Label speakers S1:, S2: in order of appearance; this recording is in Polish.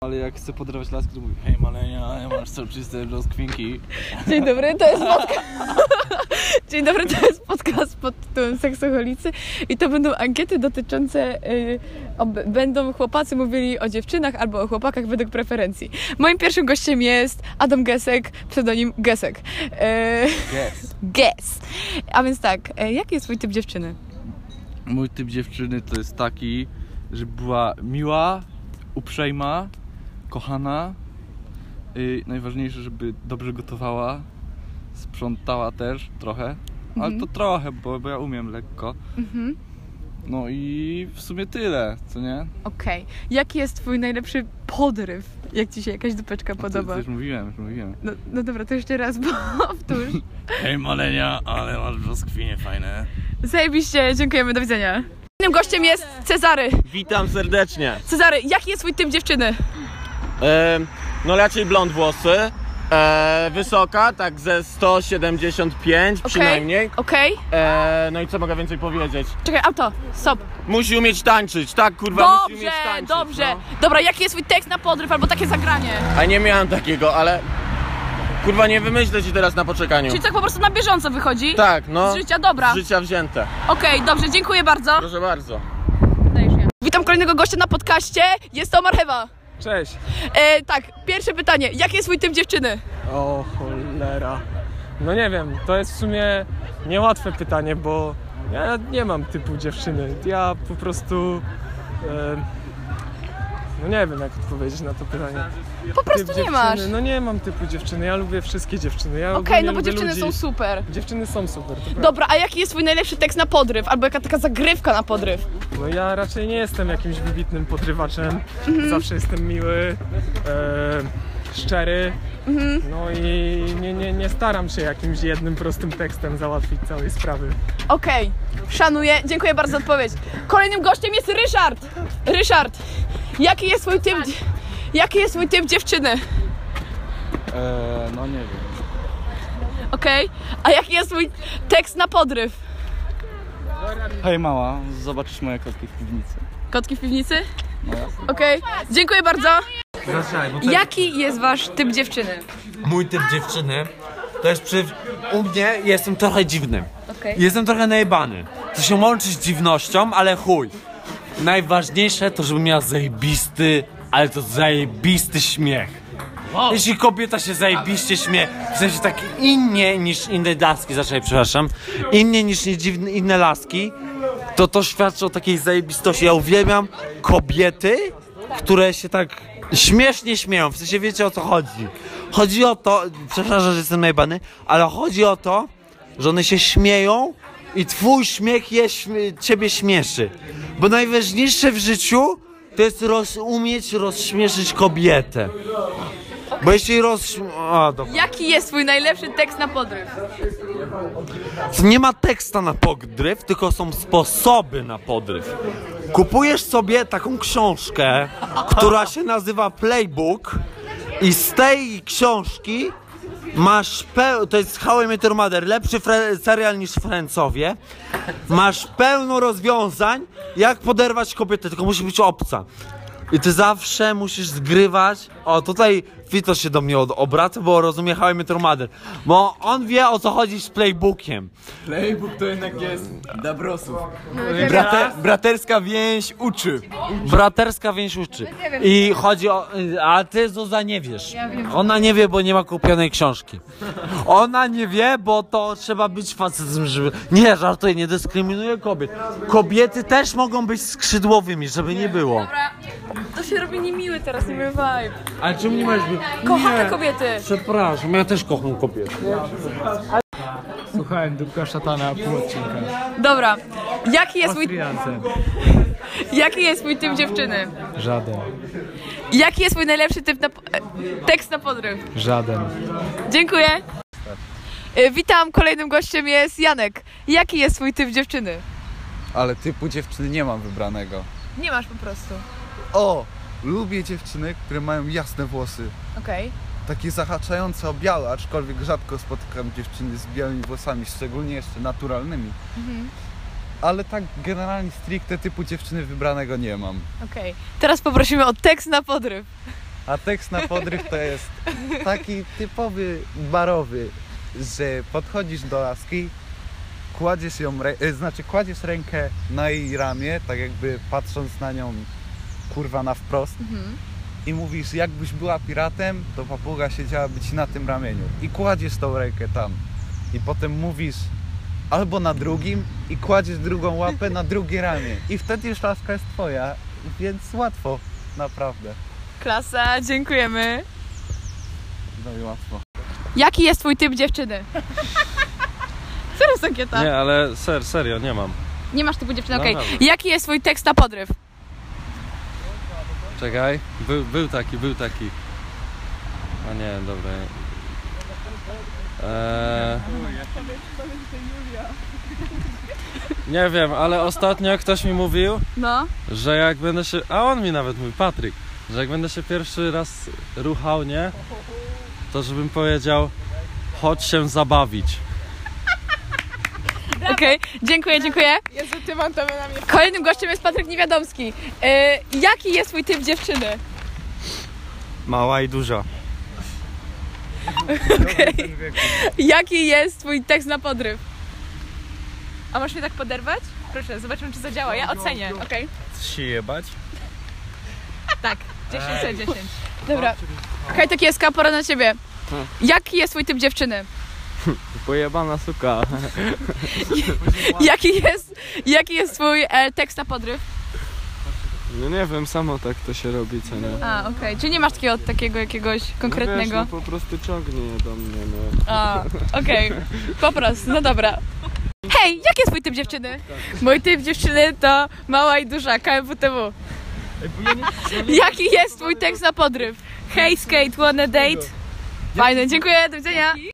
S1: Ale jak chce podrawać laski, to mówi Hej Malenia, ja masz soczyste brzoskwinki.
S2: Dzień dobry, to jest podcast. Dzień dobry, to jest podcast pod tytułem Seksoholicy i to będą ankiety dotyczące y, ob, będą chłopacy mówili o dziewczynach albo o chłopakach według preferencji. Moim pierwszym gościem jest Adam Gesek, pseudonim Gesek. E,
S1: Yes.
S2: Ges. A więc tak, e, jaki jest twój typ dziewczyny?
S1: Mój typ dziewczyny to jest taki, że była miła, uprzejma, kochana. Yy, najważniejsze, żeby dobrze gotowała. Sprzątała też trochę. Ale to trochę, bo, bo ja umiem lekko.
S2: Mhm.
S1: No i w sumie tyle, co nie?
S2: Okej. Jaki jest twój najlepszy podryw? Jak ci się jakaś dupeczka
S1: To,
S2: podoba?
S1: to już mówiłem, już mówiłem.
S2: No, no dobra, to jeszcze raz, bo powtórz.
S1: Hej Malenia, ale masz brzoskwinie fajne.
S2: Zajebiście, dziękujemy, do widzenia. Innym gościem jest Cezary.
S3: Witam serdecznie.
S2: Cezary, jaki jest twój typ dziewczyny?
S3: E, no raczej blond włosy. E, wysoka, tak ze 175 przynajmniej.
S2: Okej?
S3: E, no i co mogę więcej powiedzieć?
S2: Czekaj, auto, stop. Musi
S3: umieć tańczyć, tak kurwa, musi
S2: Dobrze,
S3: umieć tańczyć.
S2: dobrze.
S3: No.
S2: Dobra, jaki jest twój tekst na podryw albo takie zagranie?
S3: A nie miałem takiego, ale kurwa nie wymyślę ci teraz na poczekaniu.
S2: Czyli tak po prostu na bieżąco wychodzi?
S3: Tak, no.
S2: Z życia, dobra.
S3: Z życia wzięte.
S2: Okej, dobrze, dziękuję bardzo.
S3: Proszę bardzo.
S2: Witam kolejnego gościa na podcaście, jest to Marchewa.
S4: Cześć.
S2: E, tak, pierwsze pytanie, jaki jest twój typ dziewczyny?
S4: O cholera. No nie wiem, to jest w sumie niełatwe pytanie, bo ja nie mam typu dziewczyny. Ja po prostu. E, no nie wiem, jak odpowiedzieć na to pytanie.
S2: Po prostu
S4: Typ
S2: nie masz.
S4: dziewczyny,
S2: Okej,
S4: No nie mam typu dziewczyny, ja lubię wszystkie dziewczyny. Ja ogólnie
S2: no bo
S4: lubię
S2: dziewczyny
S4: ludzi.
S2: są No super.
S4: Dziewczyny są super, to prawda.
S2: Dobra, a jaki jest twój najlepszy tekst na podryw? Albo jaka taka zagrywka na podryw?
S4: No ja raczej nie jestem jakimś wybitnym podrywaczem. Zawsze jestem miły, e, szczery. No i nie, nie, nie staram się jakimś jednym prostym tekstem załatwić całej sprawy.
S2: Okej, szanuję, dziękuję bardzo za odpowiedź. Kolejnym gościem jest Ryszard. Ryszard, jaki jest twój typ, jaki jest twój typ dziewczyny?
S1: Eee, no nie wiem.
S2: Okej, a jaki jest twój tekst na podryw?
S1: Hej mała, zobaczysz moje kotki w piwnicy.
S2: Kotki w piwnicy? Okej, dziękuję bardzo.
S5: Zaczynaj, bo to
S2: Jaki jest wasz typ dziewczyny?
S5: mój typ dziewczyny to jest przy... U mnie jestem trochę dziwny.
S2: Okej.
S5: Jestem trochę najebany. To się łączy z dziwnością, ale chuj. Najważniejsze to, żebym miał zajebisty, ale to zajebisty śmiech. Jeśli kobieta się zajebiście śmieje, w sensie tak innie niż inne laski, zaczekaj, przepraszam, innie niż nie dziwne, inne laski, to to świadczy o takiej zajebistości. Ja uwielbiam kobiety, które się tak śmiesznie śmieją, w sensie wiecie o co chodzi. Chodzi o to, przepraszam, że jestem najbany, ale chodzi o to, że one się śmieją i twój śmiech je, śmie- ciebie śmieszy. Bo najważniejsze w życiu to jest roz, umieć rozśmieszyć kobietę. Bo jeśli roz... O, dobra.
S2: Jaki jest twój najlepszy tekst na podryw?
S5: Nie ma teksta na podryw, tylko są sposoby na podryw. Kupujesz sobie taką książkę, która się nazywa Playbook i z tej książki masz peł... To jest How I Met Your Mother, lepszy fre- serial niż Francowie. Masz pełno rozwiązań, jak poderwać kobietę, tylko musi być obca. I ty zawsze musisz zgrywać. O, tutaj Fito się do mnie od- obraca, bo rozumie How I Met Your Mother. Bo on wie o co chodzi z playbookiem.
S6: Playbook to jednak jest Dabrosów. Brate, braterska więź uczy.
S5: Braterska więź uczy. I chodzi o. A ty, Zuza, nie wiesz. Ona nie wie, bo nie ma kupionej książki. Ona nie wie, bo to trzeba być facetem, żeby. Nie, żartuję, nie dyskryminuję kobiet. Kobiety też mogą być skrzydłowymi, żeby nie było.
S2: To się robi niemiły teraz, niemiły vibe.
S5: Ale czemu nie masz być?
S2: Kochane kobiety.
S5: Przepraszam, ja też kocham kobiety.
S7: Słuchałem Dubka Szatana pół odcinka.
S2: Dobra, jaki jest mój,
S7: Freelancer.
S2: jaki jest mój typ dziewczyny?
S7: Żaden.
S2: Jaki jest mój najlepszy typ na, e, tekst na podryw?
S7: Żaden.
S2: Dziękuję. E, Witam, kolejnym gościem jest Janek. Jaki jest twój typ dziewczyny?
S6: Ale typu dziewczyny nie mam wybranego.
S2: Nie masz po prostu.
S6: O! Lubię dziewczyny, które mają jasne włosy.
S2: Okej.
S6: Takie zahaczające o białe, aczkolwiek rzadko spotykam dziewczyny z białymi włosami, szczególnie jeszcze naturalnymi. Ale tak generalnie stricte typu dziewczyny wybranego nie mam.
S2: Okej. Teraz poprosimy o tekst na podryw.
S6: A tekst na podryw to jest taki typowy barowy, że podchodzisz do laski, kładziesz ją, rę- e, znaczy kładziesz rękę na jej ramię, tak jakby patrząc na nią kurwa na wprost i mówisz, jakbyś była piratem, to papuga siedziałaby ci na tym ramieniu i kładziesz tą rękę tam i potem mówisz albo na drugim i kładziesz drugą łapę na drugie ramię i wtedy już laska jest twoja, więc łatwo, naprawdę.
S2: Klasa, dziękujemy.
S6: No i łatwo.
S2: Jaki jest twój typ dziewczyny? Serio, Sankieta?
S8: Nie, ale ser, serio, nie mam.
S2: Nie masz typu dziewczyny,
S8: No,
S2: okej.
S8: dobra.
S2: Jaki jest twój tekst na podryw?
S8: Czekaj, był, był taki, był taki. A nie, dobra. Eee... Nie wiem, ale ostatnio ktoś mi mówił,
S2: No.
S8: że jak będę się. A on mi nawet mówi, Patryk, że jak będę się pierwszy raz ruchał, nie? To żebym powiedział, chodź się zabawić.
S2: Okej, dziękuję, dziękuję.
S9: Jezu, ty wantamy na mnie.
S2: Kolejnym gościem jest Patryk Niewiadomski. E, jaki jest twój typ dziewczyny?
S8: Mała i duża.
S2: Jaki jest twój tekst na podryw?
S9: A masz mnie tak poderwać? Proszę, zobaczymy czy zadziała. Ja ocenię.
S2: Okej.
S8: Się jebać.
S9: Tak, 10 za 10.
S2: Dobra. Hajtek Jeska, pora na ciebie. Jaki jest twój typ dziewczyny?
S8: Hmm. Pojebana suka.
S2: Jaki jest, jaki jest twój e, tekst na podryw?
S8: No nie wiem, samo tak to się robi, co nie?
S2: A, okej. Czyli nie masz takiego, takiego jakiegoś
S8: No
S2: konkretnego?
S8: po prostu ciągnie je do mnie, no.
S2: A, okej. Po prostu, no dobra. Hej, jaki jest twój typ dziewczyny? Mój typ dziewczyny to mała i duża, KMWTW. Jaki jest twój tekst na podryw? Hej, skate, wanna date? Fajne, dziękuję, do widzenia.